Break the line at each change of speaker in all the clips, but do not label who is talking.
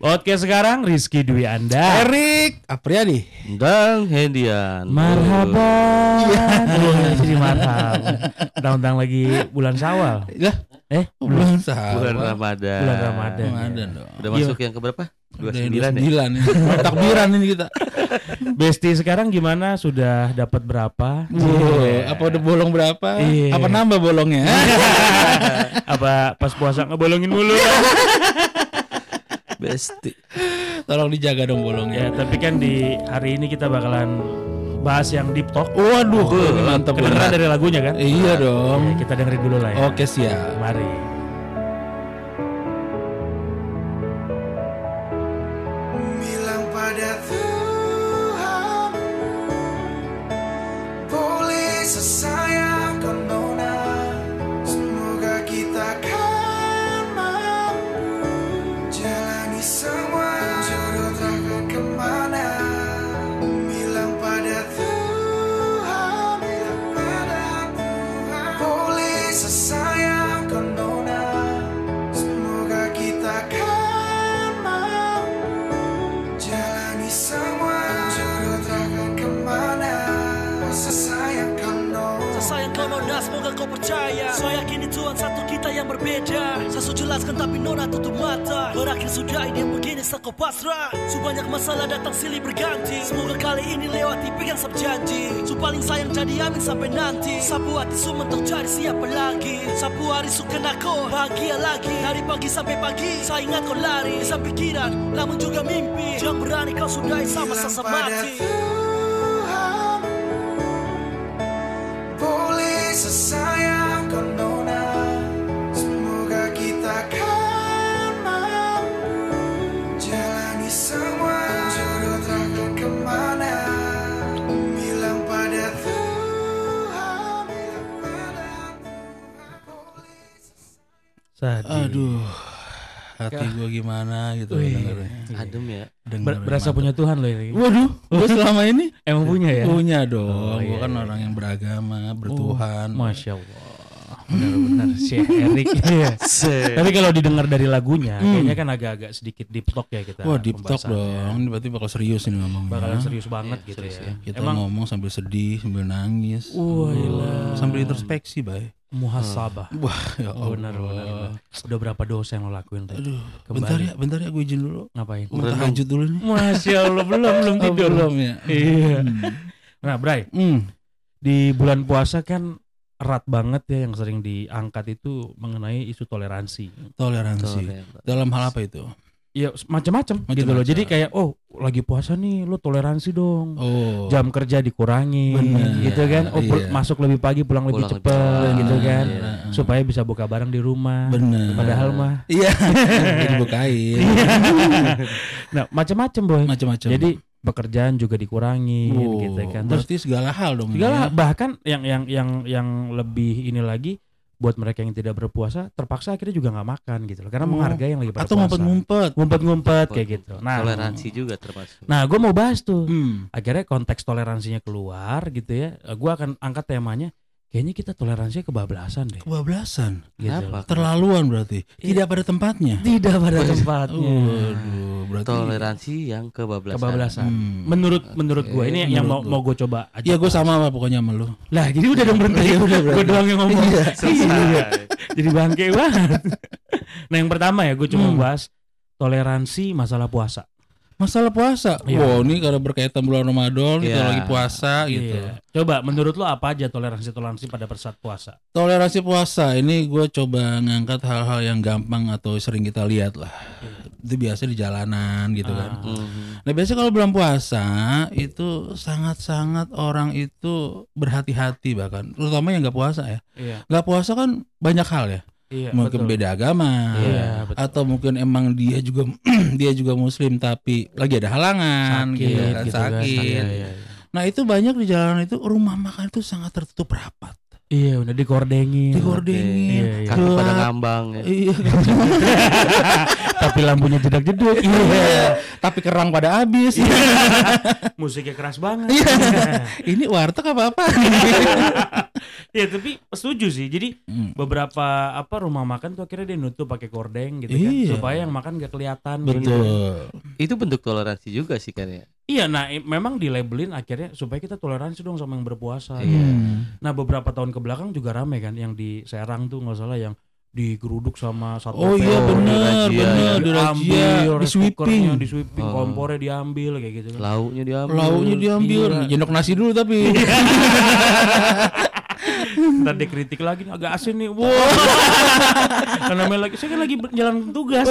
Podcast sekarang Rizky Dwi Anda.
Er- Erik Apriani.
Dan Hendian.
Marhaban.
Iya.
Belum jadi marhab. Undang-undang lagi bulan Syawal.
Lah,
Eh,
bulan
Bulan
sahabat.
Ramadan.
Bulan Ramadan. Iya.
Ramadan dong.
Udah masuk yang ke berapa?
Udah
29 ya.
29 ya. Takbiran ini kita.
Besti sekarang gimana? Sudah dapat berapa?
Wih, apa udah bolong berapa?
Iya.
Apa nambah bolongnya?
Apa pas puasa ngebolongin mulu?
Besti.
Tolong dijaga dong bolongnya.
ya, tapi kan di hari ini kita bakalan bahas yang deep talk.
Waduh,
Oh,
ini mantap
Kedengeran
banget.
dari lagunya kan?
Iya dong.
Ya, kita dengerin dulu lah ya.
Oke siap.
Mari.
Bilang pada Tuhan Boleh sesayang kau nona Semoga kita kan mampu Jalani semua Jodoh takkan kemana Bilang pada Tuhan Bilang pada Tuhan Boleh sesayang kau nona Semoga kita kan mampu Jalani semua Jodoh takkan kemana Masa sayang kau
Sayang kau nona, semoga kau percaya Saya yakini Tuhan satu kita yang berbeda Saya sudah jelaskan tapi nona tutup mata Berakhir sudah ini begini saya kau pasrah Su banyak masalah datang silih berganti Semoga kali ini lewati pegang sab janji Su paling sayang jadi amin sampai nanti Sapu hati su mentok cari siapa lagi Sapu hari su kena kau bahagia lagi Dari pagi sampai pagi saya ingat kau lari Bisa pikiran, namun juga mimpi Jangan berani kau sudahi sama
Bilang
sasa
pada
mati
Tuhan Boleh sesayang kau nona Semoga kita kan mampu Jalani semua Jodoh takkan kemana Bilang pada Tuhan Bilang pada Tuhan Boleh sesayang
Sadis.
Aduh. Hati gua gimana gitu
Iya. Wih.
dengernya.
Adem ya.
Dengernya
Ber- berasa
mantap.
punya Tuhan loh ini.
Waduh, gua selama ini
Emang punya ya?
punya dong.
Oh,
gua
iya,
kan
iya, Oh,
orang yang beragama, bertuhan.
Masya Allah. Benar-benar si Erik. Iya.
Se.
Tapi kalau didengar dari lagunya, kayaknya kan agak-agak sedikit deep talk ya kita.
Wah, deep talk
pembahasannya.
dong. Ini berarti bakal serius ini ngomongnya.
Bakalan serius banget gitu ya.
Kita
Emang
ngomong sambil sedih, sambil nangis.
Wah, gila.
Sambil introspeksi, Bay.
muhasabah.
Wah, ya Allah.
Benar, benar, benar. Udah berapa dosa yang lo lakuin tadi?
Aduh,
Kembali.
bentar ya, bentar ya gue izin dulu.
Ngapain?
Mau tahajud dulu nih.
Masya Allah, belum belum
Oh,
tidur.
belum ya.
Iya. Nah, Bray,
Hmm.
di bulan puasa kan erat banget ya yang sering diangkat itu mengenai isu toleransi.
Toleransi. Dalam hal apa itu?
Ya macam-macam gitu loh.
Macam-macam.
Jadi kayak oh lagi puasa nih lu toleransi dong.
Oh.
Jam kerja dikurangi
Bener.
gitu kan. Oh pul-
Iya.
masuk lebih pagi pulang, lebih
Pulang lebih
cepet
cepat,
gitu kan.
iya.
Supaya bisa buka bareng di rumah.
Ah, Benar.
Padahal mah.
Iya. Jadi bukain.
nah, macam-macam boy.
Macam-macam.
Iya. Jadi pekerjaan juga dikurangi
Wow,
gitu kan. Terus
berarti segala hal dong.
segala
ya.
bahkan yang yang yang yang lebih ini lagi buat mereka yang tidak berpuasa terpaksa akhirnya juga nggak makan gitu loh karena
Oh.
menghargai yang lagi berpuasa
Atau ngumpet-ngumpet.
ngumpet-ngumpet kayak gitu nah
Toleransi juga termasuk.
nah gue mau bahas tuh
Hmm.
akhirnya konteks toleransinya keluar gitu ya gue akan angkat temanya kayaknya kita toleransinya kebablasan deh
Kebablasan.
gitu.
Kenapa?
Terlaluan berarti. Tidak pada tempatnya.
Iya. tidak pada tempatnya
Waduh, berarti.
Toleransi yang kebablasan.
kebablasan
Hmm.
menurut menurut gue ini yang- yang mau
Menurut
mau gue coba aja
Iya, gue sama Iya, lah pokoknya sama lu.
lah jadi udah dong berhenti gue doang yang ngomong Iya.
Selesai.
jadi bangke banget. nah yang pertama ya gue cuma
Hmm.
bahas toleransi masalah puasa.
Masalah puasa.
Iya.
Wow, ini karena berkaitan bulan Ramadan, kita
Iya.
lagi puasa gitu.
Iya. Coba menurut lo apa aja toleransi toleransi pada persaat puasa?
Toleransi puasa ini gue coba ngangkat hal-hal yang gampang atau sering kita lihat lah.
Iya.
Itu biasa di jalanan gitu kan.
Ah.
Mhm.
Nah biasanya kalau bulan puasa itu sangat-sangat orang itu berhati-hati bahkan, terutama yang nggak puasa ya.
Iya.
Nggak puasa kan banyak hal ya.
Iya.
mungkin
betul.
beda agama
Iya, betul.
atau mungkin emang dia juga dia juga muslim tapi lagi ada halangan
Sakit,
gitu kan,
gitu kan.
sakit.
Iya, iya, iya.
Nah, itu banyak di jalan itu rumah makan itu sangat tertutup rapat.
Iya, udah digordengin. Iya, iya.
Digordengin.
Kaki pada
gelap.
ngambang ya.
Iya.
Tapi lampunya jedak jeduk.
Iya. tapi kerang pada habis.
Musiknya keras banget.
Iya. Ini warteg apa apa?
ya tapi setuju sih. Jadi
Hmm.
beberapa apa rumah makan tuh akhirnya dia nutup pakai kordeng gitu kan
Iya.
supaya yang makan gak kelihatan gitu.
Betul.
Itu bentuk toleransi juga sih kan ya.
Iya, nah i- memang di labelin akhirnya supaya kita toleransi dong sama yang berpuasa.
Iya.
Hmm.
Nah, beberapa tahun ke belakang juga rame kan yang di Serang tuh nggak salah yang digeruduk sama satu
Oh iya
Oh,
benar,
dirajia,
benar
ya.
dirajia,
diambil,
di
rice
sweeping.
cookernya di sweeping,
Oh.
kompornya diambil kayak gitu kan.
Lauknya diambil.
Lauknya diambil,
Iya.
jendok nasi dulu tapi.
Ntar dikritik lagi nih, agak asin nih. Wow. Karena main lagi saya kan lagi ber- jalan tugas.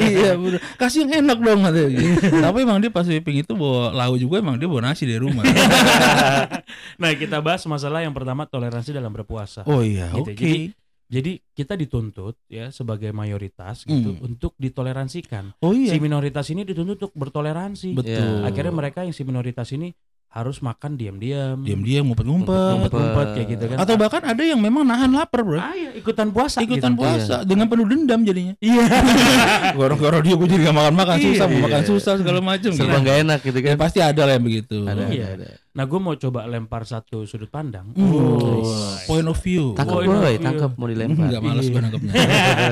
iya bener. Kasih yang enak dong katanya gitu. Tapi emang dia pas sweeping itu bawa lauk juga emang dia bawa nasi dari rumah.
nah, kita bahas masalah yang pertama toleransi dalam berpuasa.
oh iya,
Gitu,
oke.
jadi Jadi kita dituntut ya sebagai mayoritas gitu
Hmm.
untuk ditoleransikan.
Oh iya.
Si minoritas ini dituntut untuk bertoleransi.
Betul.
Iya.
Akhirnya mereka yang si minoritas ini harus makan diam-diam,
diam-diam ngumpet-ngumpet.
ngumpet-ngumpet kayak gitu kan.
Atau bahkan ada yang memang nahan lapar, Bro.
ah, ya, ikutan puasa
Ikutan
gitu.
puasa dengan penuh dendam jadinya.
Iya.
Goro-goro dia gue jadi gak makan-makan
Iya,
susah, mau
iya.
makan susah segala macam gitu.
Serba nggak enak gitu
Ya
kan.
pasti ada lah yang begitu.
Ada,
Iya.
ada, ada.
Nah, gue mau coba lempar satu sudut pandang.
Hmm.
Nice.
Point of view.
Tangkap
Wah,
boy,
iya.
tangkap mau dilempar.
Enggak males gue
Iya.
nangkepnya.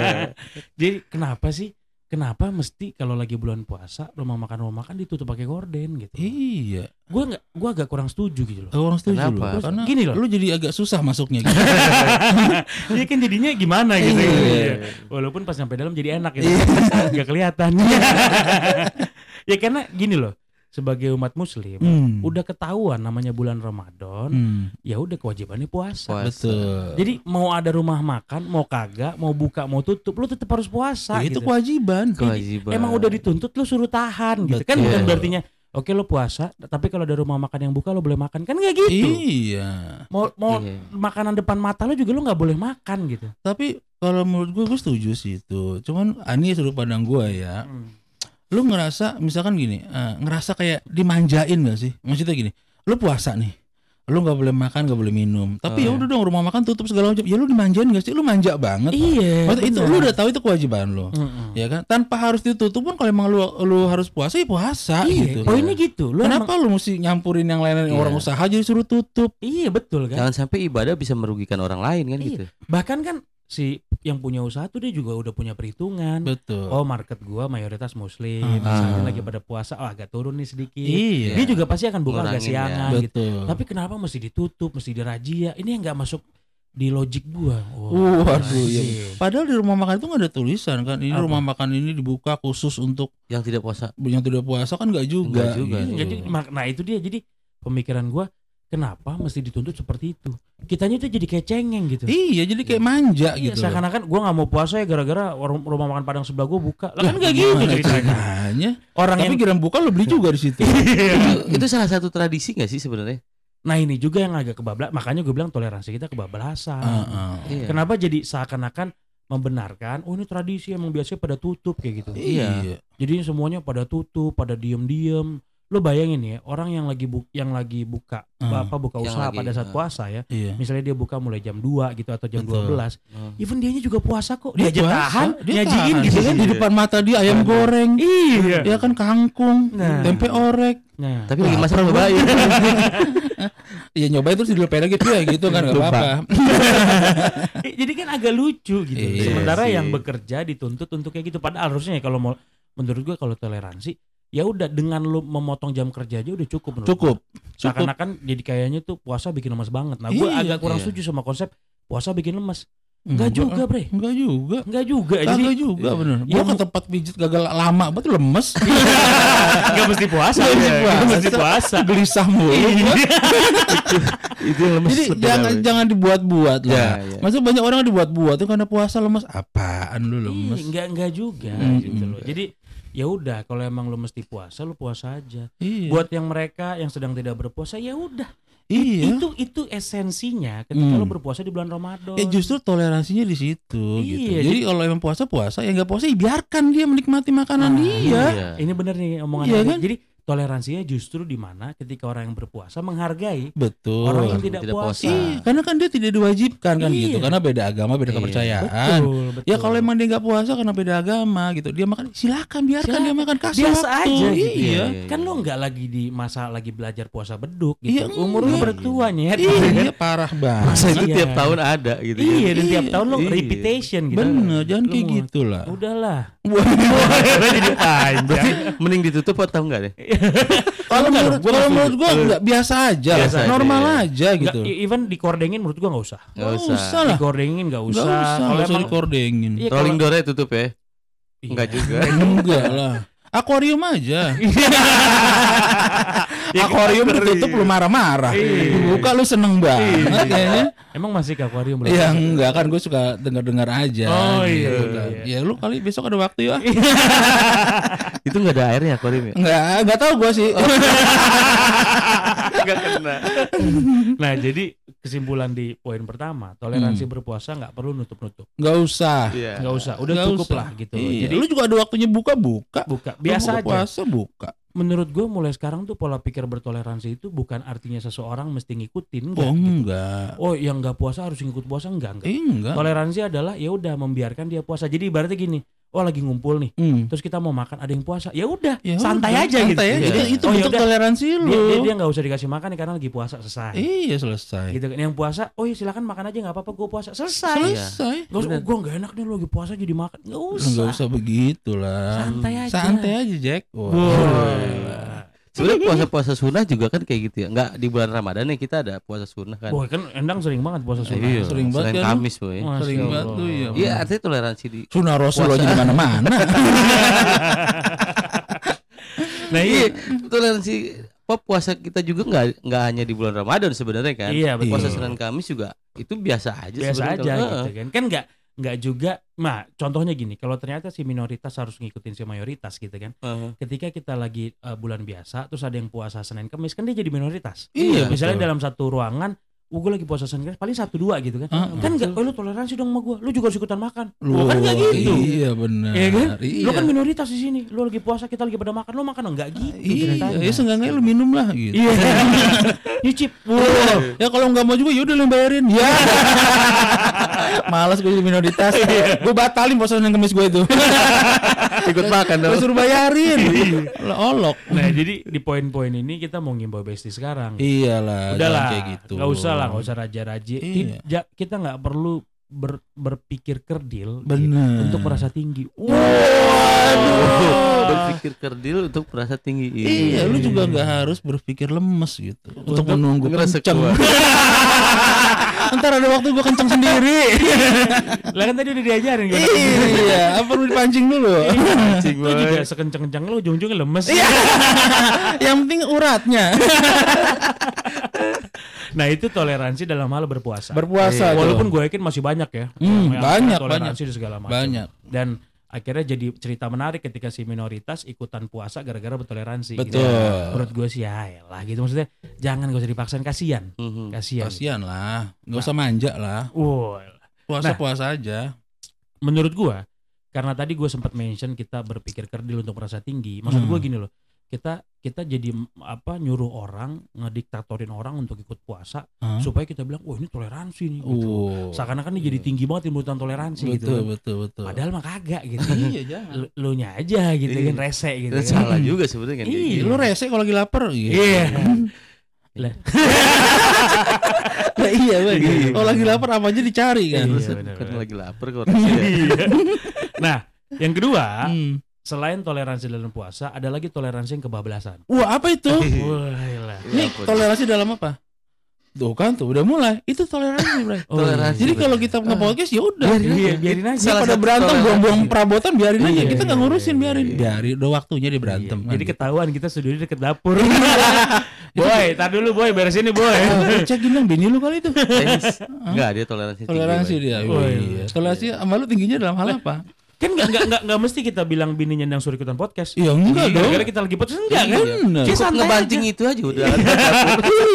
Jadi kenapa sih? Kenapa mesti kalau lagi bulan puasa rumah makan rumah makan ditutup pakai gorden gitu?
iya.
Gue nggak, gue agak kurang setuju gitu loh.
Aku orang setuju
Kenapa?
loh. Karena
Gini loh.
lu jadi agak susah masuknya gitu.
Iya kan jadinya gimana gitu.
Iya.
Iya. Walaupun pas sampai dalam jadi enak gitu. Nggak kelihatan. ya karena gini loh, sebagai umat muslim
Hmm.
udah ketahuan namanya bulan Ramadan,
Hmm.
ya udah kewajibannya puasa.
Puasa.
Betul.
Jadi mau ada rumah makan, mau kagak, mau buka, mau tutup, lu tetap harus puasa
Ya, itu
gitu.
kewajiban.
Kewajiban.
Emang udah dituntut lu suruh tahan gitu. Kan
Betul.
bukan berartinya oke lu puasa, tapi kalau ada rumah makan yang buka lu boleh makan. Kan nggak gitu.
Iya.
Mau mau
Iya.
makanan depan mata lu juga lu nggak boleh makan gitu.
Tapi kalau menurut gue gue setuju sih itu. Cuman ani sudut pandang gue ya. Lu ngerasa misalkan gini, eh, ngerasa kayak dimanjain gak sih? Maksudnya gini, lu puasa nih. Lu nggak boleh makan, nggak boleh minum. Tapi
iya.
ya
Oh,
udah dong rumah makan tutup segala macam. Ya lu dimanjain gak sih? Lu manja banget.
Iya. Hmm.
Maksudnya itu lu
bener.
udah tahu itu kewajiban lo.
Mm-mm.
Ya kan? Tanpa harus ditutup pun kalau emang lu lu harus puasa ya puasa
Iya,
gitu.
poinnya gitu. Lu emang-
Kenapa lu mesti nyampurin yang lain yang
Iya.
orang usaha jadi suruh tutup?
iya betul kan?
Jangan sampai ibadah bisa merugikan orang lain kan
Iya.
gitu.
Bahkan kan si yang punya usaha tuh dia juga udah punya perhitungan.
Betul.
Oh, market gua mayoritas muslim,
Ah.
misalnya lagi pada puasa, oh agak turun nih sedikit.
iya.
Dia juga pasti akan buka agak
Ngurangin ya.
siangan gitu.
Betul.
Tapi kenapa mesti ditutup, mesti dirajia? Ini yang nggak masuk di logik gua.
Uh,
Wah,
waduh, iya.
anjing.
Padahal di rumah makan itu nggak ada tulisan kan. Ini
Apa?
rumah makan ini dibuka khusus untuk
Yang tidak puasa.
yang tidak puasa kan nggak juga.
Nggak juga.
gitu.
Jadi mak- nah itu dia jadi pemikiran gua kenapa mesti dituntut seperti itu? Kitanya tuh jadi kayak cengeng gitu.
Iya, jadi kayak manja
Iya,
gitu. loh.
seakan-akan gua nggak mau puasa ya gara-gara warung- rumah makan Padang sebelah gua buka. Lah kan nggak
Ya, Gimana
gitu ceritanya.
Iya, ceritanya?
Orang
Tapi
yang
kira buka lo beli juga di situ.
Iya.
itu, itu salah satu tradisi gak sih sebenarnya?
Nah, ini juga yang agak kebablas. Makanya gue bilang toleransi kita kebablasan.
Heeh.
Iya.
Kenapa jadi seakan-akan membenarkan oh ini tradisi emang biasanya pada tutup kayak gitu.
Iya.
Jadi semuanya pada tutup, pada diem-diem. Lo bayangin ya, orang yang lagi bu- yang lagi buka
Hmm.
apa buka
Yang
usaha
lagi,
pada saat
hmm.
puasa ya.
Iya.
Misalnya dia buka mulai jam 2 gitu atau jam
Betul.
12.
Oh.
Even dianya juga puasa kok. Dia aja
puasa,
tahan,
dia
nyajiin
tahan.
gitu
Iya,
kan.
di depan mata dia ayam goreng.
Iya.
Dia kan kangkung,
Nah.
tempe orek.
Nah,
Tapi lagi
Wah,
masa ngebaik.
Ya nyobain terus dilupain lagi tuh ya gitu kan nggak
Lupa.
apa-apa.
Eh, jadi kan agak lucu gitu.
Iya
Sementara
sih.
yang bekerja dituntut untuk kayak gitu. Padahal harusnya ya kalau mau menurut gua kalau toleransi ya udah dengan lu memotong jam kerja aja udah cukup menurut
Cukup.
gua.
Cukup.
Seakan-akan jadi kayaknya tuh puasa bikin lemas banget. Nah, gua
Iya.
agak kurang
Iya.
setuju sama konsep puasa bikin lemas. Enggak juga, Bre.
Enggak juga.
Enggak juga. Jadi
Kagak juga bener.
Iya,
Gua ke
bu-
tempat pijit gagal lama banget lemes.
enggak mesti puasa.
Nggak mesti
ya. Nggak
puasa.
mesti puasa. Iya.
Gelisah mulu. gua.
itu yang lemes.
Jadi jangan jangan dibuat-buat
Ya,
lah.
ya.
Maksudnya banyak orang yang dibuat-buat itu karena puasa lemes. Apaan lu
Iya,
lemes?
enggak enggak juga gitu loh. Jadi ya udah kalau emang lu mesti puasa lu puasa aja.
Iya.
Buat yang mereka yang sedang tidak berpuasa ya udah.
iya.
Itu itu esensinya ketika
Hmm.
lu berpuasa di bulan Ramadan.
Eh justru toleransinya di situ
Iya,
gitu.
jadi-
Jadi kalau emang puasa puasa, ya nggak puasa ya biarkan dia menikmati makanan
Ah,
dia.
Ini bener nih omongan
Iya
Ari.
kan?
Jadi toleransinya justru di mana ketika orang yang berpuasa menghargai
betul
orang yang
orang
tidak,
tidak
puasa.
puasa.
Iya, karena kan dia tidak diwajibkan kan
Iya.
gitu karena beda agama beda
Iya.
kepercayaan
Betul, betul.
ya kalau emang dia nggak puasa karena beda agama gitu dia makan silakan biarkan
Silakan.
dia makan kasih
Biasa
waktu.
aja gitu
iya
ya.
kan lo nggak lagi di masa lagi belajar puasa beduk gitu.
Iya,
Umur lo
enggak.
bertua nyet.
Iya, iya, parah banget
Masa itu
Iya.
tiap tahun ada gitu kan?
Iya, dan tiap
Iya.
tahun lo
Iya.
repetition gitu.
bener jangan
Lo
kayak
mau-
gitu lah
Udahlah.
Jadi panjang. Mending ditutup atau enggak deh?
kalau
Enggak
menurut
dong, gua gitu.
kalau
nggak
menurut gua
setuju.
nggak biasa aja
Biasa aja,
normal
iya.
aja
Nggak,
gitu
i- even dikordengin menurut gua nggak usah.
Enggak
Nggak
usah.
usah lah
Dikordengin nggak
nggak
usah.
usah
Kalau
nggak usah
emang-
dikordengin
Iya,
Rolling
kalau-
door tutup ya. Enggak
Iya.
juga.
enggak lah akuarium aja akuarium ditutup lu marah-marah
Iya.
buka lu seneng banget kayaknya
Emang masih ke akuarium belum?
Ya enggak kan gue suka dengar-dengar
Iya.
aja.
Oh, iya,
gitu
iya,
kan.
iya.
Ya lu kali besok ada waktu ya.
Itu enggak ada airnya akuarium ya?
Enggak, enggak tahu gue sih.
Oh.
Enggak kena.
Nah, jadi kesimpulan di poin pertama, toleransi
Hmm.
berpuasa nggak perlu nutup-nutup.
Enggak usah.
Iya.
Nggak usah, udah
Ya. Nggak
cukup
usah.
lah gitu.
Iya.
Jadi
lu juga ada waktunya buka buka.
buka
Lu buka
biasa aja.
Puasa buka.
Menurut gue mulai sekarang tuh pola pikir bertoleransi itu bukan artinya seseorang mesti ngikutin. nggak,
Oh
gitu.
enggak.
Oh, yang nggak puasa harus ngikut puasa enggak enggak.
Eh, enggak.
Toleransi adalah ya udah membiarkan dia puasa. Jadi ibaratnya gini, oh lagi ngumpul nih,
Hmm.
terus kita mau makan ada yang puasa, ya udah
Ya
santai
udah,
aja
santai
gitu.
aja.
Iya.
Itu
Oh, ya
bentuk
udah.
toleransi lu.
Dia dia- dia nggak usah dikasih makan nih karena lagi puasa selesai.
Iya selesai.
gitu kan yang puasa oh ya silakan makan aja nggak apa-apa gue puasa selesai
Selesai.
gak usah
Bener.
gue nggak enak nih lu lagi puasa jadi makan nggak
Lu
usah,
Enggak Iya. usah begitu lah.
santai aja
Santai aja Jack. Wah.
Sebenarnya puasa-puasa sunnah juga kan kayak gitu ya. Enggak di bulan Ramadan ya kita ada puasa sunnah kan.
Wah kan Endang sering banget puasa sunnah.
Iya,
sering banget
Senin
kan lu?
Kamis, boy.
Masya
Sering banget
Allah.
tuh ya.
Iya, artinya toleransi di
Sunnah Rasul aja di mana-mana.
Nah iya.
Iya, toleransi apa puasa kita juga nggak nggak hanya di bulan Ramadan sebenarnya kan.
Iya, betul.
Puasa Senin Kamis juga itu biasa aja
Biasa
sebenarnya
aja
kalau-
gitu kan. Kan nggak nggak juga. Nah contohnya gini, kalau ternyata si minoritas harus ngikutin si mayoritas gitu kan.
Heeh.
Ketika kita lagi eh, bulan biasa, terus ada yang puasa Senin Kamis kan dia jadi minoritas.
Iya,
Misalnya
betul.
dalam satu ruangan, oh, gue lagi puasa Senin Kamis paling satu dua gitu kan.
Heeh.
Kan nggak, oh, lu toleransi dong sama gue. Lu juga harus ikutan makan.
Ah, Lu
Lu kan nggak gitu.
Iya benar.
Iya kan?
Iya.
Lu kan minoritas di sini. Lu lagi puasa, kita lagi pada makan. Lu makan enggak gitu
Iya,
ceritanya.
ya seenggaknya lu minum lah gitu.
Iya. Nyicip.
Wah, ya kalau nggak mau juga yaudah lu yang bayarin. Ya. Males gue jadi minoritas. gue batalin puasa Senin Kamis gue itu.
Ikut makan
Gue suruh bayarin. Lah, Olok.
Nah, jadi di poin-poin ini kita mau ngimbau Besti sekarang.
Iyalah,
Udahlah,
Iya, jangan kayak gitu.
nggak usah lah, nggak usah raja-raji.
Iya.
Tidak, kita nggak perlu ber- berpikir kerdil gitu,
Bener.
untuk merasa tinggi.
Iya.
Waduh,
Waduh.
berpikir kerdil untuk merasa tinggi.
Iya, lu juga nggak harus berpikir lemes gitu. Untuk, menunggu
ngerasa
kenceng.
kuat.
Ntar ada waktu gue kenceng sendiri.
Lah kan tadi udah diajarin kan.
iya, apa perlu dipancing dulu?
Anjing,
Lu
boy.
juga sekenceng-kenceng lu ujung-ujungnya lemes.
Iya. Yang penting uratnya.
Nah, itu toleransi dalam hal berpuasa.
Berpuasa.
Walaupun
tuh.
gue yakin masih banyak ya.
Hmm,
yang
banyak,
toleransi dan segala macam.
banyak.
Dan akhirnya jadi cerita menarik ketika si minoritas ikutan puasa gara-gara bertoleransi. gitu.
Betul.
Menurut gue sih ya lah gitu maksudnya jangan gak usah dipaksain kasihan.
Mhm.
Kasihan.
Mm-hmm. Kasihan lah, nggak usah manja lah.
Wow.
Puasa
Nah.
puasa aja.
Menurut gue karena tadi gue sempat mention kita berpikir kerdil untuk merasa tinggi. Maksud gue
Hmm.
gini loh. Kita kita jadi mm, apa nyuruh orang ngediktatorin orang untuk ikut puasa
Hah?
supaya kita bilang wah ini toleransi nih gitu.
Oh.
Seakan-akan ini jadi
Iya.
tinggi banget timbutan toleransi gitu.
Betul, betul, betul.
Padahal mah kagak gitu.
iya jangan.
Lu- lu nya aja gitu
Iya.
kan rese gitu
Dan
kan.
salah juga sebenarnya kan. kayak
Iya.
Lu rese kalau lagi lapar gitu.
Iya. Lah.
Lah.
Lah iya, Bang.
Iya.
Kalau lagi lapar apa aja dicari
gitu.
kan.
Iya,
Terus
benar,
kan
benar.
lagi lapar
Iya.
kok rasanya.
nah, yang kedua,
Hmm.
selain toleransi dalam puasa, ada lagi toleransi yang kebablasan.
Wah, apa itu?
Iya.
Wah, lah.
Nih, toleransi dalam apa? Tuh kan tuh udah mulai. Itu toleransi, Bro. Oh, iya.
Toleransi.
Jadi kalau kita nge-podcast ya udah.
Iya, biarin aja.
Dia
Salah
pada
satu
berantem
toleransi.
buang-buang perabotan biarin
Iya,
aja kita nggak
iya,
ngurusin
iya,
biarin
iya.
biarin udah waktunya dia berantem
Iya,
kan
Jadi
gitu.
ketahuan kita studionya deket dapur. boy, tar dulu boy, beres ini boy.
Ah, cek dong bini lu kali itu
Tenis. Enggak, dia toleransi tinggi.
toleransi
Bang.
dia
Oh,
iya.
iya.
toleransi sama lu tingginya dalam hal apa
Kan nggak nggak nggak nggak mesti kita bilang bininya yang suruh ikutan podcast.
Iya,
Iya,
enggak dong. Iya.
Gara-gara kita lagi podcast enggak kan?
Bener.
Kayak
Cukup
santai
ngebanting
aja.
itu aja udah.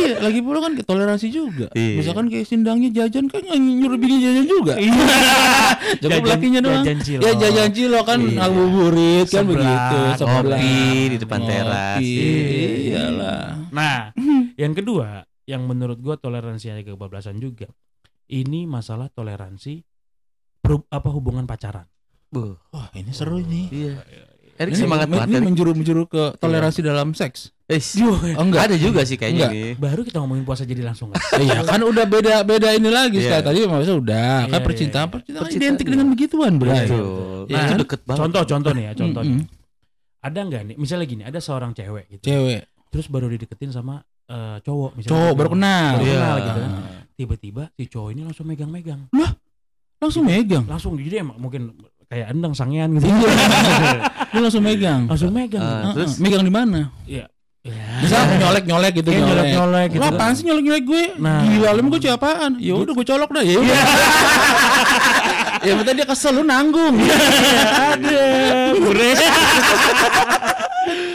Iya, lagi pula kan toleransi juga.
Iya.
Misalkan kayak sindangnya jajan kan nggak nyuruh bini jajan juga. Cukup
Iya, Jajan-
lakinya doang.
jajan cilok.
Ya jajan cilok kan
Iya.
ngabuburit kan
Seblak,
begitu. seblak.
Kopi di depan
Ngopi.
teras.
Iyalah.
Nah, yang kedua, yang menurut gua toleransi ada kebablasan juga. Ini masalah toleransi perhub- apa hubungan pacaran.
Buh,
Wah, ini seru nih.
Iya. Erik
Ini
semangat
men-
banget.
Ini
Erik.
menjuru-menjuru ke toleransi dalam seks.
Eh,
Oh, enggak.
Ada juga sih kayaknya
Enggak.
nih.
Baru kita ngomongin puasa jadi langsung. kan?
Iya kan udah beda beda ini lagi
Iya.
Sky. tadi maksudnya udah
Iya, iya,
kan percintaan
iya.
percintaan,
Percintaan,
identik
iya.
dengan begituan bray.
Betul.
Iya.
Itu deket banget.
Contoh-contoh nih ya, contohnya.
Mm-mm.
Ada nggak nih, misalnya gini, ada seorang cewek gitu.
Cewek,
Terus baru dideketin sama eh, cowok misalnya.
cowok baru kenal.
Baru
Iya.
kenal gitu kan. Tiba-tiba si cowok ini langsung megang-megang.
Langsung megang.
Langsung jadi emang mungkin kayak endang sangean gitu.
Iya. Dia langsung megang.
langsung megang. Ya,
Eh,
Heeh.
terus?
megang di mana? Bisa
Iya.
nyolek nyolek gitu
Kayak
nyolek.
nyolek-nyolek gitu.
Lo apaan sih nyolek nyolek gue?
Nah.
Gila lu emang gue siapaan? Ya udah gue colok dah ya. udah. ya bentar dia kesel lu nanggung.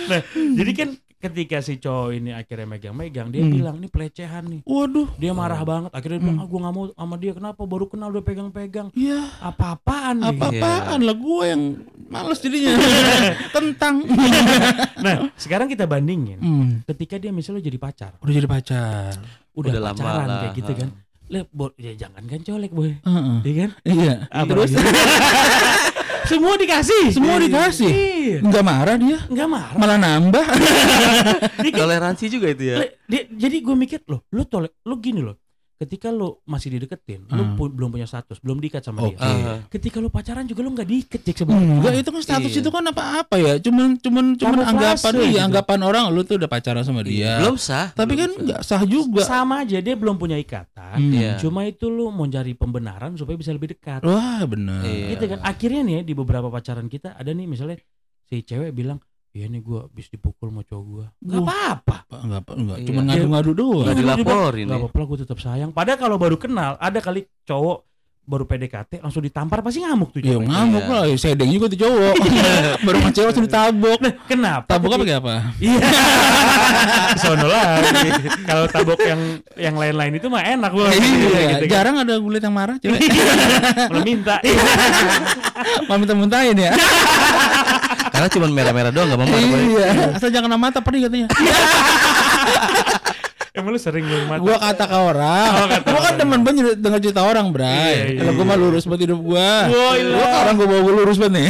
Nah, jadi kan ketika si cowok ini akhirnya megang-megang, dia
Hmm.
bilang ini pelecehan nih.
Waduh.
Dia marah banget. Akhirnya dia bilang,
Hmm.
ah gue gak mau sama dia. Kenapa? Baru kenal udah pegang-pegang.
Iya.
Apa-apaan nih.
Apa-apaan lah gue yang males jadinya. Tentang.
Nah, sekarang kita bandingin.
Hmm.
Ketika dia misalnya jadi pacar.
Udah jadi pacar.
Udah,
Udah lama
pacaran
lah. Ah.
kayak gitu kan. Lep, bo- ya jangan kan colek boy.
Heeh.
Iya kan?
Iya.
Terus? Semua dikasih.
Semua dikasih.
Iya.
Enggak marah dia.
Nggak marah.
Malah nambah.
Toleransi juga itu ya.
Le- dia- jadi gue mikir loh, lu tole, lu gini loh. Ketika lu masih dideketin, lu
Hmm.
pu- belum punya status, belum diikat sama
Oke.
dia.
Ah,
Ketika lu pacaran juga lu nggak diikat Jack, sebenarnya.
Enggak itu kan status
Iya.
itu kan apa-apa ya. Cuman cuman cuman
Kamuflase
anggapan iya
gitu.
anggapan orang lu tuh udah pacaran sama dia.
Iya. Belum sah.
Tapi kan
belum sah.
nggak sah juga.
sama aja dia belum punya ikatan.
Hmm.
Iya.
Cuma itu lu mau cari pembenaran supaya bisa lebih dekat.
Wah benar.
Iya.
Gitu kan. Akhirnya nih ya, di beberapa pacaran kita ada nih misalnya si cewek bilang, "Iya nih gua habis dipukul sama cowok gua." Enggak
Wah.
apa-apa.
Pak, Enggak apa enggak.
Iya.
Cuman ngadu-ngadu doang.
Nggak dilaporin
Enggak
ya.
apa-apa, gue tetap sayang. Padahal kalau baru kenal, ada kali cowok baru PDKT langsung ditampar pasti ngamuk tuh
Ya
cewek.
ngamuk
Iya.
lah, ya, sedeng juga tuh cowok. Baru sama cewek langsung ditabok.
Nah, kenapa?
Taboknya
ketika-
pakai apa? gitu?
Iya. Sono lagi. Kalau tabok yang yang lain-lain itu mah enak gua.
Iya,
Gitu kan. Iya.
jarang Iya. ada gue liat yang marah cewek.
Malah minta.
Mau minta-mintain ya.
Karena cuma merah-merah doang enggak apa-apa.
Iya. Asal jangan kena mata perih katanya.
Emang lu sering lu mata.
Gua kata ke orang.
Oh, kata
gua kan
orang.
demen banget cerita- denger cerita orang, Bray.
Iya, iya,
Kalau gua mah lurus banget hidup gua.
Woi, lah. Iya.
Gua ke orang gua bawa gua lurus banget nih.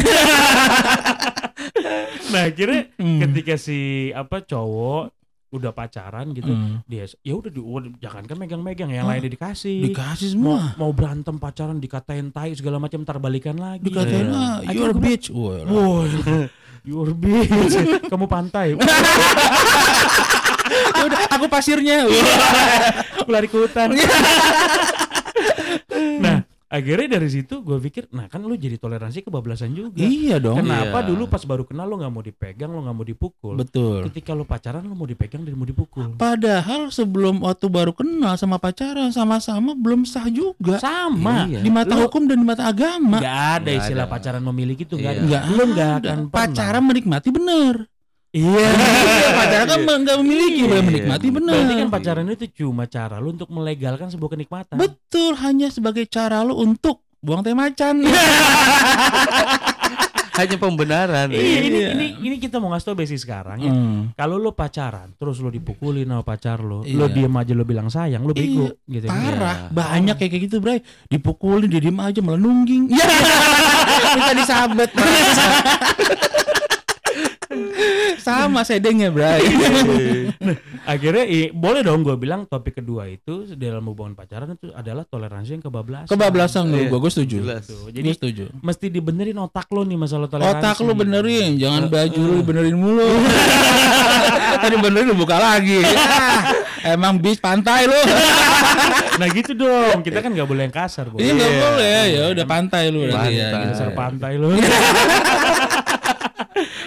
Nah, akhirnya
Hmm.
ketika si apa cowok udah pacaran gitu,
Hmm.
dia ya udah di udah- jangan kan megang-megang yang lainnya dikasih.
Dikasih
mau,
semua.
mau berantem pacaran dikatain tai segala macam ntar balikan lagi.
Dikatain
Iya.
ah,
Akhirnya
you're a
gua-
bitch. Wah, lah.
Woi, you're bitch. Kamu pantai.
Ya udah, aku pasirnya.
Iya. Aku lari ke hutan. nah, akhirnya dari situ gue pikir, nah kan lu jadi toleransi kebablasan juga.
iya dong.
Kenapa
Iya.
dulu pas baru kenal lu nggak mau dipegang, lu nggak mau dipukul.
Betul.
Ketika lu pacaran lu mau dipegang dan mau dipukul.
Padahal sebelum waktu baru kenal sama pacaran sama-sama belum sah juga
Sama.
Iya.
di mata
Lu-
hukum dan di mata agama.
Nggak ada
Nggak
istilah
ada.
pacaran memiliki itu
Iya.
nggak
Nggak
ada. Lu nggak
ada.
akan pernah.
pacaran menikmati bener.
Iya.
Iya, pacaran kan nggak memiliki,
Iya.
boleh menikmati bener.
Berarti kan pacaran itu cuma cara lu untuk melegalkan sebuah kenikmatan.
Nah.
Betul, hanya sebagai cara lu untuk buang teh macan.
Iya. Hanya pembenaran.
Iya, ini,
Iya.
ini ini kita mau ngasih tau basic sekarang ya.
Hmm.
Kalau lo pacaran, terus lo dipukulin sama pacar lo,
Iya.
lo diem aja lo bilang sayang, lo bego gitu.
Parah,
Iya.
banyak kayak kayak gitu, Bray. Dipukulin, dia diem aja malah nungging.
Iya.
Ya. Minta disabet. bangsa. Sama sedengnya,
Iya,
Bray.
Akhirnya i- boleh dong gue bilang topik kedua itu dalam hubungan pacaran itu adalah toleransi yang kebablasan.
Kebablasan lu, gua gua setuju.
Iya. Jelas.
Tuh,
Jadi
Jadi
setuju.
mesti dibenerin otak lo nih masalah toleransi. gitu.
Otak lu benerin, jangan baju lu benerin mulu. Tadi benerin lu buka lagi.
Iya.
Ah, Emang bis pantai lu.
Nah gitu dong, kita kan nggak boleh yang kasar. Bo.
Ini enggak boleh ya, udah pantai lu berarti ya.
Pantai.
Dasar pantai lo.
Eh.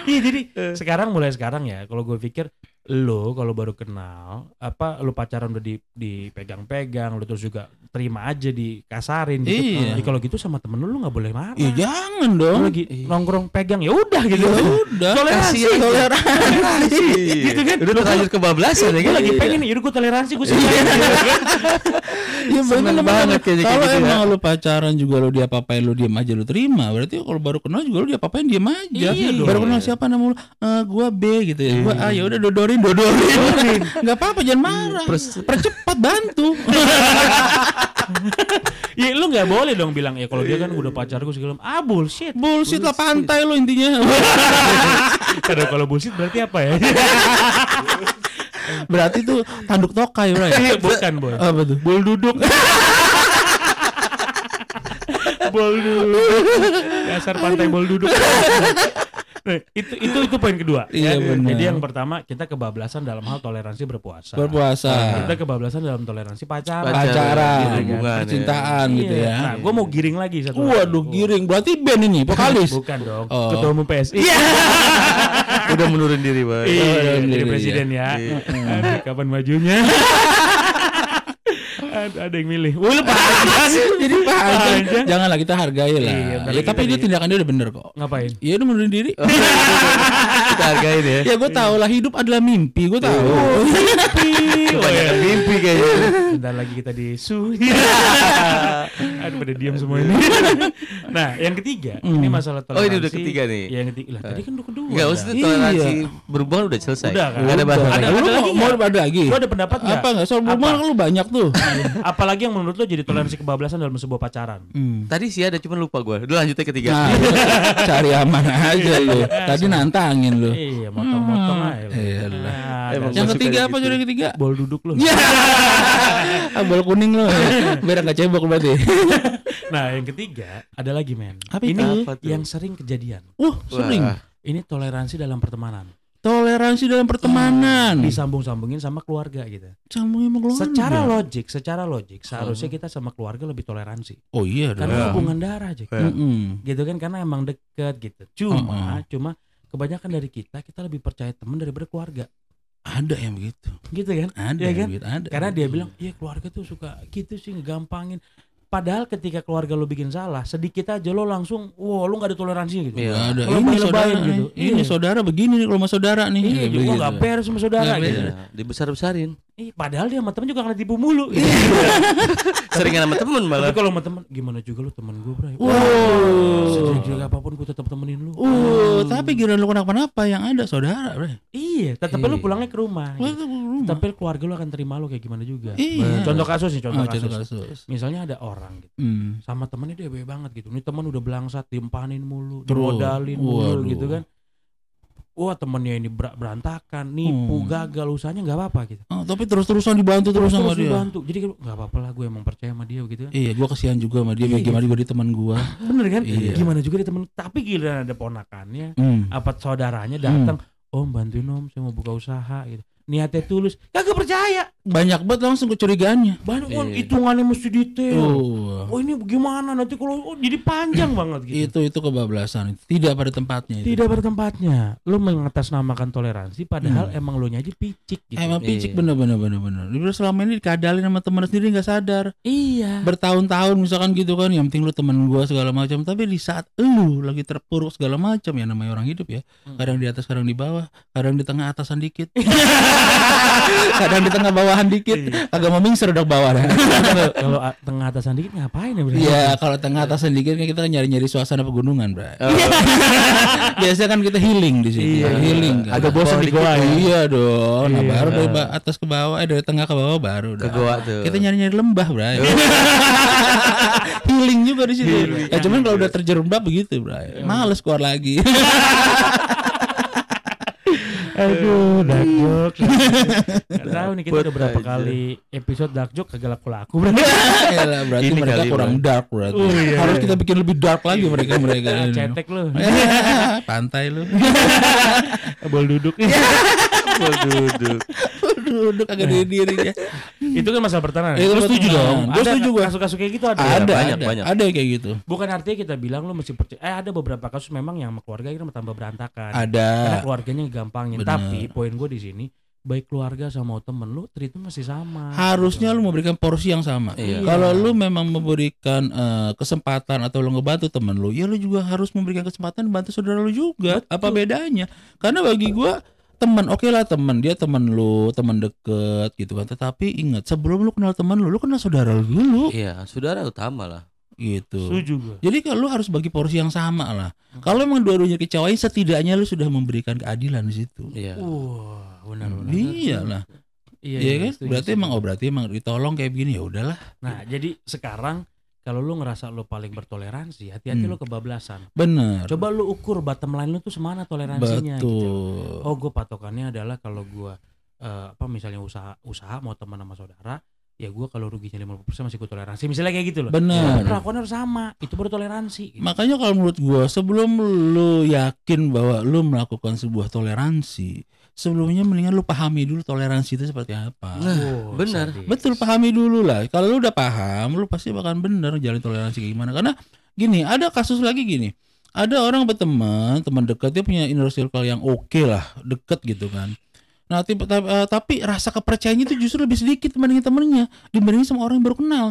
Iya jadi sekarang mulai sekarang ya kalau gue pikir lo kalau baru kenal apa lo pacaran udah di dipegang-pegang lo terus juga terima aja dikasarin gitu
Iya.
Jadi kalau gitu sama temen lo lo nggak boleh marah
Ya jangan
Lo
dong.
lagi nongkrong pegang ya udah gitu
Iya. Ya udah.
toleransi
Kasihan.
toleransi gitu kan
Iya. Udah
Lo-
terlanjur kebablasan ya
gue
kan?
lagi
Iya.
pengen nih yaudah gue toleransi gue suka
Iya. Ya bener
Seneng banget kayaknya kayak
Kalau
gitu
emang lu pacaran juga lu dia papain lu diem aja lu terima. Berarti kalau baru kenal juga lu dia papain diem aja.
Iya dong.
baru kenal siapa nama lu? Eh, gua B gitu ya. Gua A ya udah dodorin dodorin. Enggak apa-apa jangan marah.
Pers-
Percepat bantu.
ya lu nggak boleh dong bilang ya kalau dia kan udah pacar gue segala macam. ah bullshit
Bullshit lah pantai lu intinya.
Aduh, kalau bullshit berarti apa ya
Berarti tuh tanduk tokai, bro. ya?
bukan boy
Apa tuh? Bul duduk.
bol duduk dasar pantai bol duduk Nah, itu itu itu poin kedua ya.
Iya, benar.
jadi yang pertama kita kebablasan dalam hal toleransi berpuasa
Berpuasa.
kita kebablasan dalam toleransi pacaran
Pacaran,
Hubungan, ya.
percintaan
Iya.
gitu ya. Oh.
nah gue mau giring lagi satu
Waduh,
lagi.
giring. Berarti band ini vokalis.
bukan dong
Oh.
ketua umum PSI
Udah menurun diri boy.
Iya,
iya,
jadi
iya.
presiden ya. Aduh, kapan majunya? Aduh, ada yang milih. Wah, lepas.
Jadi
Panjang.
panjang. Janganlah kita hargai lah.
Iya, bentar
ya,
lagi Eh.
tapi
tadi.
dia tindakan dia udah bener kok.
Ngapain?
Ya udah menurut diri.
Kita hargain ya.
Ya gue tau lah hidup adalah mimpi. Gue tahu.
Oh.
Iya.
Kebanyakan mimpi kayaknya.
Bentar lagi kita di su. Aduh, pada diam semua ini. nah, yang ketiga,
Hmm.
ini masalah toleransi.
Oh, ini udah ketiga nih.
Ya, yang ketiga. Lah, tadi kan udah kedua.
Enggak,
Dah.
maksudnya toleransi
Iya.
berhubungan udah selesai.
Udah, kan?
Nggak ada bahasa
Ada-
lagi.
Lu
ada
mau,
lagi
mau
nggak?
ada lagi?
Lu ada pendapat nggak?
Apa nggak? Soal rumah
Apa?
lu banyak tuh.
Apalagi yang menurut lo jadi toleransi kebablasan dalam sebuah pacaran.
Hmm.
Tadi sih ada cuman lupa gua. Udah lanjutnya
Ya.
ketiga.
Nah, lu cari aman aja lu. Tadi nantangin lu.
Iya, motong-motong aja. lo.
Iya lah.
Ah,
Emang
dasar
Yang
Masuk
ketiga
kayak
apa
gitu.
judul ketiga?
bol duduk lo.
Ya. Abal kuning lu. Biar enggak cebok berarti.
Nah, yang ketiga ada lagi, men.
Apa itu?
Ini
Apa tuh?
yang sering kejadian.
Wah, sering.
Wah.
Ini toleransi dalam pertemanan.
Toleransi dalam pertemanan.
Disambung-sambungin sama keluarga gitu.
Sambungin sama keluarga.
Secara logik, secara logik seharusnya
Hmm.
kita sama keluarga lebih toleransi.
Oh iya dong.
Karena hubungan darah aja.
Iya.
Mm-mm.
Gitu kan karena emang deket gitu. Cuma cuma kebanyakan dari kita kita lebih percaya teman daripada keluarga.
Ada yang begitu.
Gitu kan?
Ada
Iya
yang
kan?
begitu, ada.
Karena dia bilang, "Iya, keluarga tuh suka gitu sih ngegampangin." Padahal ketika keluarga lo bikin salah, sedikit aja lo langsung, "Wah, lo gak ada toleransi gitu."
Iya.
Nggak ada.
Kalau
ini
mau
saudara
lebahin
nih.
gitu.
Ini
Iya.
saudara begini nih kalau sama saudara nih.
Iya,
Ya,
juga
begitu.
gak fair sama saudara
Nggak
gitu.
fair.
Iya, dibesar-besarin.
Ih, padahal dia sama temen juga kena tipu mulu. Gitu.
Seringan sama temen
Tapi
malah.
kalau sama temen, gimana juga lu temen gue, bro.
Wow.
Sejelek-jelek apapun gue tetap temenin lu.
Uh, tapi giliran lu kenapa-napa yang ada saudara, Bre.
Iya, tetap lu
Iya.
pulangnya ke rumah.
Lu
gitu.
tuh rumah.
Tapi keluarga lu akan terima lu kayak gimana juga. Nah,
Iya.
Contoh kasus nih, contoh
Ah,
kasus.
contoh kasus.
Misalnya ada orang gitu
Hmm.
sama temennya dia bebe banget gitu. Ini temen udah belangsat, diempanin mulu,
Terus.
dimodalin mulu
Waduh.
gitu kan. Wah temennya ini ber- berantakan, nipu,
Hmm.
gagal, usahanya nggak apa-apa gitu.
Oh, tapi terus-terusan dibantu terus, sama
Terus
dia.
dibantu. Jadi kayak, nggak apa-apa lah gue emang percaya sama dia gitu kan.
Iya, gua kasihan juga sama dia.
Iya.
Gimana juga dia teman gua.
Bener kan?
Iya.
Gimana juga dia temen. Tapi giliran ada ponakannya,
Hmm.
apa saudaranya datang, om bantuin om, saya mau buka usaha gitu. Niatnya tulus, kagak percaya.
Banyak banget langsung kecurigaannya.
Banyak
Iya.
kan hitungannya mesti detail.
Oh.
Oh ini gimana nanti kalau oh, jadi panjang banget gitu.
Itu itu kebablasan. Tidak pada tempatnya itu.
Tidak bertempatnya. Lu mengatasnamakan toleransi padahal
Hmm.
emang lu aja picik gitu.
Emang picik
Iya.
bener bener bener bener. Lu selama ini dikadalin sama temen sendiri nggak sadar.
iya.
Bertahun-tahun misalkan gitu kan, yang penting lu temen gua segala macam. Tapi di saat lu lagi terpuruk segala macam ya namanya orang hidup ya. Kadang di atas, kadang di bawah, kadang di tengah atasan dikit. kadang di tengah bawahan dikit. Agak mau mingser dong bawah dah.
kalau a- tengah atasan dikit ngapain ya berarti?
Iya, kalau tengah atasan dikit kan kita nyari-nyari suasana pegunungan, Bray. Biasanya kan kita healing di sini.
Oh. Iya,
healing. Kan?
Agak bosan di goa ya.
Iya dong. Nah,
Iya.
baru dari ba- atas ke bawah, eh dari tengah ke bawah baru
Ke
dah.
goa tuh.
Kita nyari-nyari lembah, Bray.
Oh.
healing juga di situ. Ya cuman kalau udah terjerembab begitu,
Oh.
Bray. Males keluar lagi.
Aduh, dark
Iya.
joke. Gak tahu nih kita
Buat
udah berapa
aja.
kali episode dark joke kagak laku-laku.
Iya. Elah, Ya berarti
Ini
mereka
kali,
kurang
Bray.
dark berarti.
Oh, iya.
Harus kita bikin lebih dark lagi mereka mereka.
Ah, Cetek lu.
Iya. Pantai lu.
Bol duduk.
Iya.
duduk.
Duduk agak diri dirinya.
itu kan masalah pertahanan.
Eh, gua setuju dong. Gua
Ada
setuju gua.
Kasus-kasus kayak gitu ada.
ada,
Iya, banyak,
ada,
banyak.
ada yang kayak gitu.
Bukan artinya kita bilang lu mesti percaya. Eh ada beberapa kasus memang yang sama keluarga akhirnya tambah berantakan.
Ada.
Karena keluarganya gampangin.
Bener.
Tapi poin gue di sini baik keluarga sama temen lu treatment masih sama
harusnya lu memberikan porsi yang sama.
Iya.
Kalau lu memang memberikan eh, kesempatan atau lu ngebantu temen lu, ya lu juga harus memberikan kesempatan bantu saudara lu juga. Apa bedanya? Karena bagi gua teman oke lah teman dia teman lu teman deket gitu kan tetapi ingat sebelum lu kenal teman lu lu kenal saudara lu dulu
Iya, saudara utama lah.
gitu
setuju gue
jadi kalau lu harus bagi porsi yang sama lah kalau emang dua-duanya kecewain setidaknya lu sudah memberikan keadilan di situ
Iya.
wah benar benar
iya lah
iya,
iya
iya,
kan
setuju,
berarti
setuju.
emang oh berarti emang ditolong kayak begini ya udahlah
nah jadi sekarang kalau lu ngerasa lu paling bertoleransi hati-hati
Hmm.
lu kebablasan
bener
coba lu ukur bottom line lu tuh semana toleransinya gitu
Betul.
oh gue patokannya adalah kalau gue eh, apa misalnya usaha usaha mau teman sama saudara ya gue kalau ruginya 50% masih gue toleransi misalnya kayak gitu loh
Benar.
Tapi perlakuan harus sama itu baru toleransi gitu.
Makanya kalau menurut gua sebelum lu yakin bahwa lu melakukan sebuah toleransi, sebelumnya mendingan lu pahami dulu toleransi itu seperti apa.
Wow,
benar.
sadis.
Nah, Betul, pahami dulu lah. Kalau lu udah paham, lu pasti bakalan bener jalan toleransi kayak gimana. Karena gini, ada kasus lagi gini. Ada orang berteman, teman dekat dia punya inner circle yang oke lah, deket gitu kan. Nah, tipe- ta- eh, tapi rasa kepercayaannya itu justru lebih sedikit dibandingin temennya dibandingin sama orang yang baru kenal.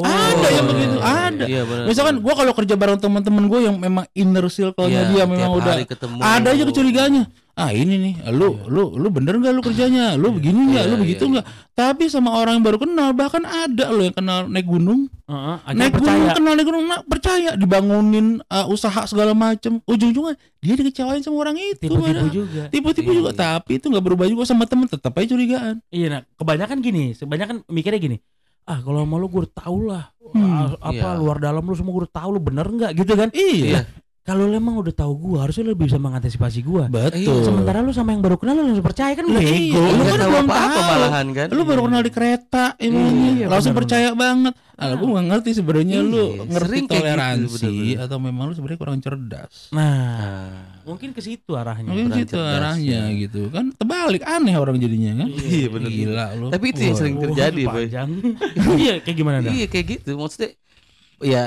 Oh,
Ada yang begitu,
iya,
ada.
Iya, benar.
Misalkan gua kalau kerja bareng teman-teman gue yang memang inner circle-nya
Iya,
dia
tiap
memang udah
hari ketemu.
ada aja kecurigaannya. Ah ini nih, lu lu lu bener nggak lu kerjanya? Lu begini nggak?
Iya,
Lu
iya,
begitu
iya.
nggak? Tapi sama orang yang baru kenal bahkan ada lo yang kenal naik gunung,
Heeh, akhirnya
naik
percaya.
gunung kenal naik gunung nah, percaya dibangunin uh, usaha segala macem. Ujung-ujungnya dia dikecewain sama orang itu.
tipu-tipu
padahal.
juga.
Tipu-tipu
Iya,
juga,
iya.
tapi itu nggak berubah juga sama temen tetap aja curigaan.
Iya, nah, kebanyakan gini, kebanyakan mikirnya gini. Ah, kalau sama lu gue udah tau lah.
Hmm.
Ah, apa
Iya.
luar dalam lu semua gue udah tau lu bener nggak gitu kan?
Iya,
Kalau lu emang udah tahu gua, harusnya lu lebih bisa mengantisipasi
Iya.
gua.
betul.
Sementara lu sama yang baru kenal lu langsung percaya kan
Lah,
bego.
iya. Lu
Lu kan
kan
tahu
belum
apa-apa
tahu.
malahan kan?
lu baru kenal di kereta emangnya
Iya,
langsung
benar-benar.
percaya banget ah gue gak ngerti sebenarnya lu
Iya,
ngerti
sering kayak gitu,
toleransi
bener-bener.
atau memang lu sebenarnya kurang cerdas
Nah,
Nah.
mungkin ke situ arahnya.
mungkin
kurang
gitu
cerdas,
arahnya
ya.
gitu kan terbalik aneh orang jadinya kan
Iya, bener.
gila lu
Tapi itu ya, yang
Wah.
sering
Wah,
terjadi, Boy.
panjang. Iya, kayak gimana dah?
Iya kayak gitu maksudnya ya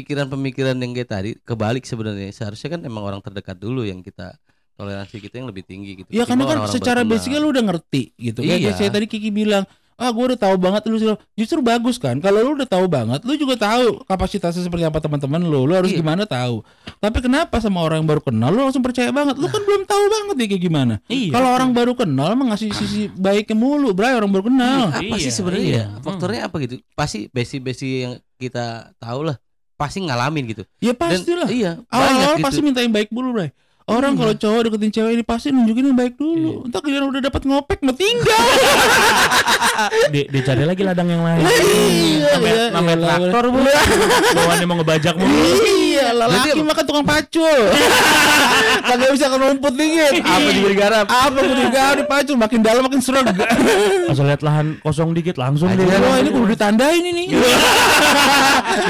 pemikiran-pemikiran yang kayak tadi kebalik sebenarnya seharusnya kan emang orang terdekat dulu yang kita toleransi kita yang lebih tinggi gitu.
ya karena kan
Ketimbang orang-orang
secara
berkenal.
basicnya lu udah ngerti gitu kayak
Iya.
kayak saya tadi Kiki bilang ah gue udah tahu banget lu sih." justru bagus kan kalau lu udah tahu banget lu juga tahu kapasitasnya seperti apa teman-teman lu lu harus
Iya.
gimana tahu tapi kenapa sama orang yang baru kenal lu langsung percaya banget lu
Nah.
kan belum tahu banget ya kayak gimana
Iya.
Kalau orang baru kenal emang ngasih sisi
Ah.
baiknya mulu, bray orang baru kenal.
apa sih
Iya,
sebenarnya
iya.
ya?
Hmm.
faktornya apa gitu? Pasti basic-basic yang kita tahu lah pasti ngalamin gitu.
Ya
Dan-
pastilah.
Iya.
Awal-awal
banyak Iya.
pasti
gitu.
minta yang baik dulu, bray. Orang kalau cowok deketin cewek ini pasti nunjukin yang baik
Iya.
dulu. Entar kalian udah dapat ngopek mau tinggal.
Di, dicari lagi ladang yang lain.
Iya,
Sampai-
iya,
sampai
iya,
traktor bu. Bawaannya mau ngebajak mulu.
Iya, lelaki
Berarti-
makan tukang pacul. Kagak bisa kerumput dingin.
apa juga digarap?
Apa pun juga dipacul makin dalam makin serem.
Asal lihat lahan kosong dikit langsung
Ajar.
dia.
Wah, ini kudu ditandain ini.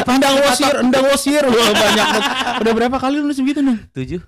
Pandang wasir, endang wasir. Wah, banyak. banget. Udah berapa kali lu nulis begitu, Neng?
Tujuh.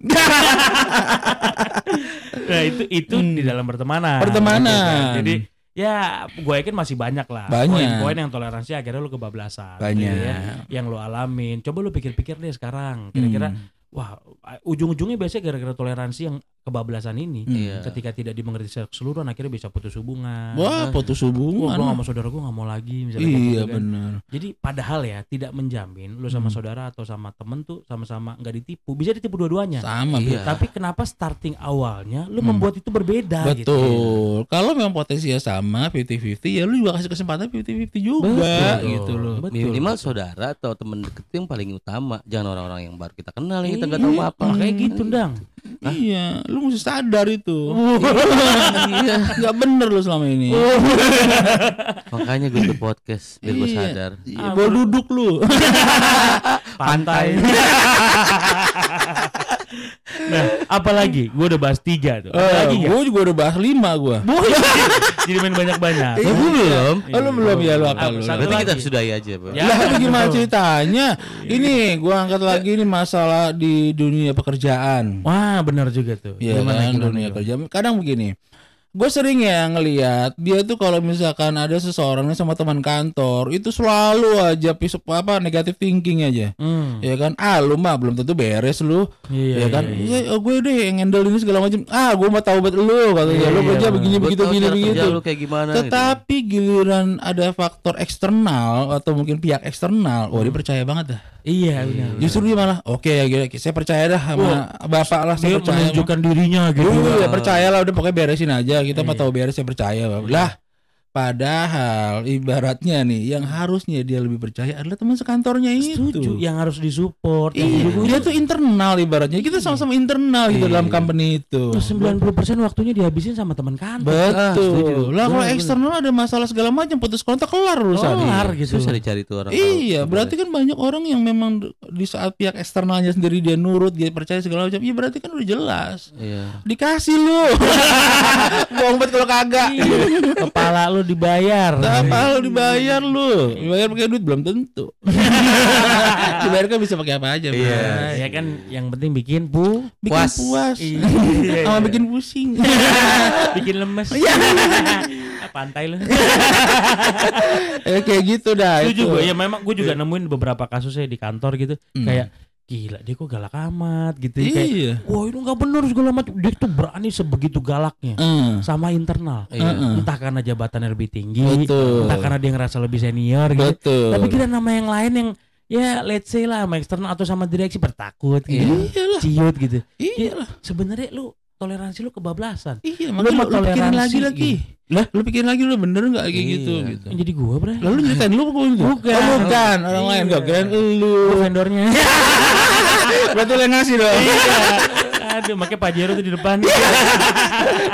Nah itu itu
Hmm.
di dalam pertemanan.
Pertemanan.
Gitu kan. Jadi ya gue yakin masih banyak lah.
Banyak.
Poin-poin yang toleransi akhirnya lu kebablasan.
Banyak.
gitu ya. Yang lu alamin. Coba lu pikir-pikir deh sekarang.
Hmm.
Kira-kira wah ujung-ujungnya biasanya gara-gara toleransi yang kebablasan ini.
Hmm.
Iya.
Ketika tidak dimengerti secara keseluruhan akhirnya bisa putus hubungan.
Wah, putus
Wah,
hubungan.
gue sama saudara gue gak mau lagi misalnya kayak
Iya
gitu kan.
benar.
Jadi padahal ya tidak menjamin lu sama
Hmm.
saudara atau sama temen tuh sama-sama nggak ditipu. Bisa ditipu dua-duanya.
Sama
Iya.
Bro.
Gitu. Tapi kenapa starting awalnya lu
Hmm.
membuat itu berbeda
Betul.
gitu.
Kalau memang potensinya sama 50-50 ya lu juga kasih kesempatan 50-50 juga
Betul.
gitu loh.
Betul.
Minimal saudara atau temen deket itu yang paling utama. Jangan orang-orang yang baru kita kenal yang kita nggak
Iya,
tahu apa.
Hmm.
Hmm.
Makanya gitu, Dang.
Iya, lu mesti sadar
Oh.
itu.
Iya.
Enggak bener lu selama ini.
Makanya gue ke podcast biar gue
Iya.
sadar.
Iya, bawa duduk lu.
Pantai. nah, apalagi? Gua udah bahas tiga tuh.
Eh,
Apalagi ya?
gua juga udah bahas 5 gua.
Jadi main banyak-banyak.
Eh, gua belum.
Iya.
Oh, lu belum ya lu
Ah,
apa lu?
satu
Berarti kita
lagi.
sudahi aja, Bro.
Ya,
Lah itu gimana
betul.
ceritanya? Ini gua angkat lagi ini masalah di dunia pekerjaan.
Wah, benar juga tuh.
Iya
Gimana,
kan
gimana,
dunia
gimana?
kerja. Kadang begini, gue sering ya ngelihat dia tuh kalau misalkan ada seseorang nih sama teman kantor itu selalu aja pis apa negatif thinking aja
Hmm.
ya kan ah lu mah belum tentu beres lu
Iya,
ya kan
iya,
"Ya, gue deh yang handle ini segala macam ah gue mau tahu buat lu katanya
Iya,
lu
iya,
kerja
bener.
begini
Gua
begitu
tahu
begini
cara kerja
begitu
lu kayak gimana
Nah,
gitu.
tetapi giliran ada faktor eksternal atau mungkin pihak eksternal wah
Hmm.
dia percaya banget dah
Iya, benar.
justru dia malah oke ya gila saya percaya dah sama bapak lah saya
Dia
percaya sama-
menunjukkan dirinya gitu.
Dulu ya percayalah udah pokoknya beresin aja kita mah
Iya.
tahu beres ya percaya Bang. lah. Padahal ibaratnya nih yang harusnya dia lebih percaya adalah teman sekantornya itu.
Setuju, yang harus disupport. yang Iya.
Iya,
didukung.
dia tuh internal ibaratnya. Kita sama-sama internal gitu
Iya.
dalam company
Nah,
itu.
90% waktunya dihabisin sama teman kantor.
Ah, setuju.
Betul. Lah kalau
Bener, bener.
eksternal ada masalah segala macam putus kontak kelar urusannya.
Kelar gitu.
Susah dicari tuh orang.
Iya, berarti kan banyak orang yang memang di saat pihak eksternalnya sendiri dia nurut, dia percaya segala macam. Iya, berarti kan udah jelas.
Iya.
Dikasih lu. Bohong banget kalau kagak.
Iya. Kepala lu dibayar.
Apa lu dibayar lu? Dibayar pakai duit belum tentu. dibayar kan bisa pakai apa aja, Bro.
Iya.
Nah, ya kan yang penting bikin bu
Bikin
Puas.
puas.
Iya,
Sama
iya.
bikin pusing.
bikin lemes
Iya.
Ah, pantai lu
ya, kayak gitu dah.
setuju
itu.
gue ya memang gue juga nemuin beberapa kasusnya di kantor gitu
Iya. Hmm.
kayak gila dia kok galak amat gitu ya. kayak
Iya.
wah itu nggak benar segala macam dia tuh berani sebegitu galaknya
Eh,
sama internal
Iya.
Heeh.
entah karena jabatannya lebih tinggi
Betul.
entah karena dia ngerasa lebih senior gitu
Betul.
tapi kita nama yang lain yang ya let's say lah sama eksternal atau sama direksi bertakut gitu
Iya lah.
ciut gitu
Iya lah.
sebenarnya lu toleransi lu kebablasan
Iya,
Lu
makanya
mau
lu, lu pikirin
toleransi
lagi lagi. Lah, lu pikirin lagi lu bener nggak kayak
Iya.
gitu gitu.
Yang jadi gua bre
Lalu nyeritain lu kok gitu?
Bukan.
Oh, bukan. Orang lain
Iya.
enggak keren lu.
Gua vendornya
Berarti lu yang ngasih dong.
aduh makanya pajero tuh di depan
Iya.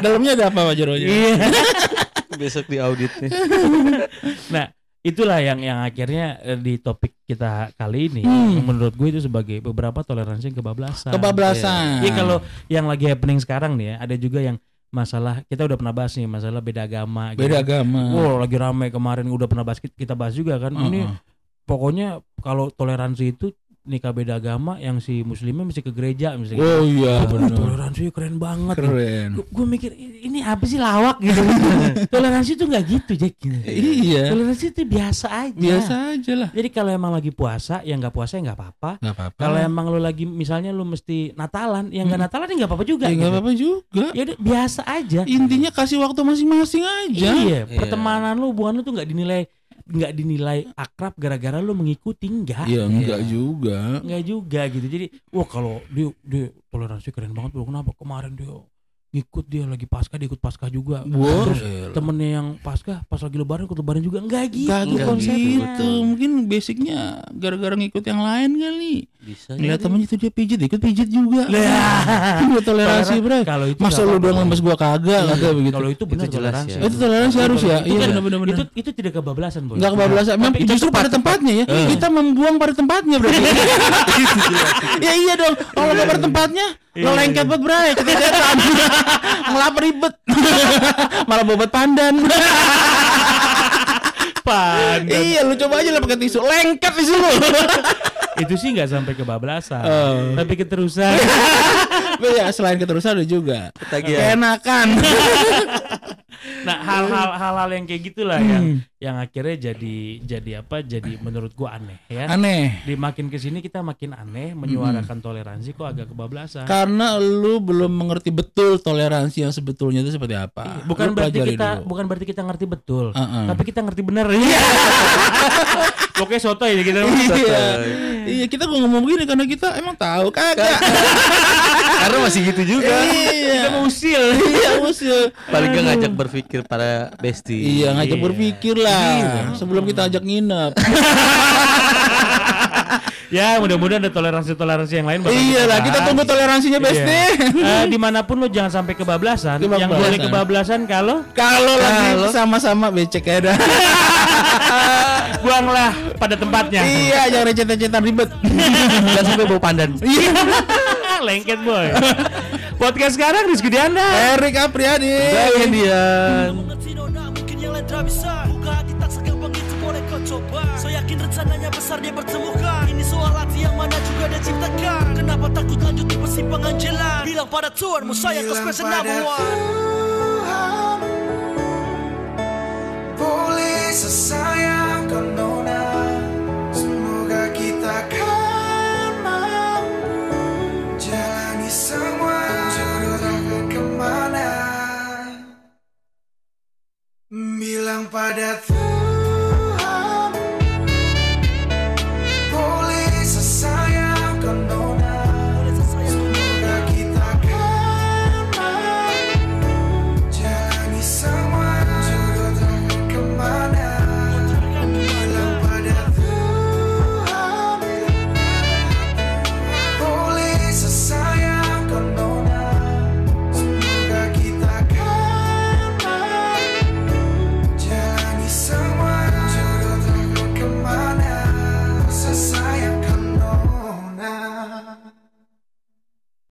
Dalamnya ada apa Pak Jero?
iya
Besok di auditnya.
nah itulah yang yang akhirnya eh, di topik kita kali ini
Hmm.
menurut gue itu sebagai beberapa toleransi yang kebablasan
Kebablasan.
Iya kalau yang lagi happening sekarang nih ya ada juga yang masalah kita udah pernah bahas nih masalah beda agama gitu.
beda agama.
Wow, lagi rame kemarin udah pernah bahas kita bahas juga kan. Ini
Heeh.
pokoknya kalau toleransi itu nikah beda agama yang si muslimnya mesti ke gereja misalnya.
Oh iya benar.
toleransi keren banget.
Keren.
Gue mikir "I- ini apa sih lawak gitu. toleransi itu nggak gitu Jack. Gitu.
Iya.
Toleransi itu biasa aja.
Biasa aja lah.
Jadi kalau emang lagi puasa yang nggak puasa ya nggak apa-apa.
Enggak apa-apa.
Kalau emang lu lagi misalnya lu mesti Natalan, yang nggak
Mm.
Natalan ya nggak apa-apa juga.
ya enggak
gitu.
apa-apa juga.
Ya udah, biasa aja.
Intinya kasih waktu masing-masing aja.
Iya,
Iya.
pertemanan lu hubungan lu tuh nggak dinilai nggak dinilai akrab gara-gara lu mengikuti enggak.
Iya, enggak
Iya.
juga.
Enggak juga gitu. Jadi, wah kalau dia dia toleransi keren banget bro. Kenapa kemarin dia ngikut dia lagi pasca dia ikut pasca juga.
Wah,
Terus
elah.
temennya yang pasca pas lagi lebaran ikut lebaran juga enggak gitu
Enggak
Enggak
konsepnya.
gitu. Mungkin basicnya gara-gara ngikut yang lain kali.
Bisa.
Ngeliat
Iya,
jadi.
temennya itu dia pijit, ikut pijit juga.
Lah.
Iya, toleransi, Bro.
Nah. Kalau itu
Masa
nggak
lu
apa-apa.
doang lemes gua kagak kata begitu.
Iya. Kalau itu benar
Itu jelas
toleransi.
ya.
Oh, itu toleransi harus ya.
Itu
Iya
kan-
benar-benar.
Itu itu tidak kebablasan, Boy.
Enggak kebablasan. Memang
Tapi itu
justru pada tempatnya ya.
Eh.
Kita membuang pada tempatnya
Iya,
berarti. ya iya dong. Kalau nggak pada tempatnya,
Iya,
lo lengket buat bray, keteteran. Ngelap kan. ribet. Malah bobot pandan.
Pan.
iya, lu coba aja lah pakai tisu. Lengket tisu lu.
itu sih nggak sampai kebablasan.
Oh.
Tapi keterusan.
ya, selain keterusan ada juga.
Ketagihan.
Enakan.
nah, hal-hal hal-hal yang kayak gitulah yang
Hmm.
yang akhirnya jadi jadi apa? Jadi menurut gua aneh ya.
Aneh.
Di makin kesini kita makin aneh menyuarakan toleransi kok agak kebablasan.
Karena lu belum mengerti betul toleransi yang sebetulnya itu seperti apa.
Iya, bukan
Lu
berarti
pelajari
kita
dulu.
bukan berarti kita ngerti betul,
Uh-uh.
tapi kita ngerti bener. Pokoknya sotoy ya kita.
Iya. Iya, kita kok ngomong begini karena kita emang tahu kagak.
Karena masih gitu juga.
Kita mau
Iya.
usil.
Iya, musuh.
Paling gak ngajak berpikir para bestie.
Iya, ngajak
Iya.
berpikir lah sebelum kita ajak nginep.
ya, mudah-mudahan ada toleransi-toleransi yang lain. bakal
Iya lah, kita
bahas.
tunggu toleransinya
Iya.
Besti.
Eh, dimanapun lo jangan sampai kebablasan. Yang
Kebablasan.
boleh kebablasan kalau
Kalau
Kalau-
lagi sama-sama becek ya dah.
buanglah pada tempatnya.
Iya, jangan recet-recetan ribet.
Gak sampai bau pandan.
Iya. Lengket boy. Podcast sekarang Rizky Dianda.
Erik Apriadi.
Kemudian.
Mengerti nona mungkin yang lain tak bisa Buka hati tak segampang itu boleh kau coba Saya yakin rencananya besar dia pertemukan Ini soal hati yang mana juga dia ciptakan Kenapa takut lanjut di persimpangan jalan Bilang pada Tuhanmu saya kau
Bilang
spesial
pada
number one
Tuhan yang padat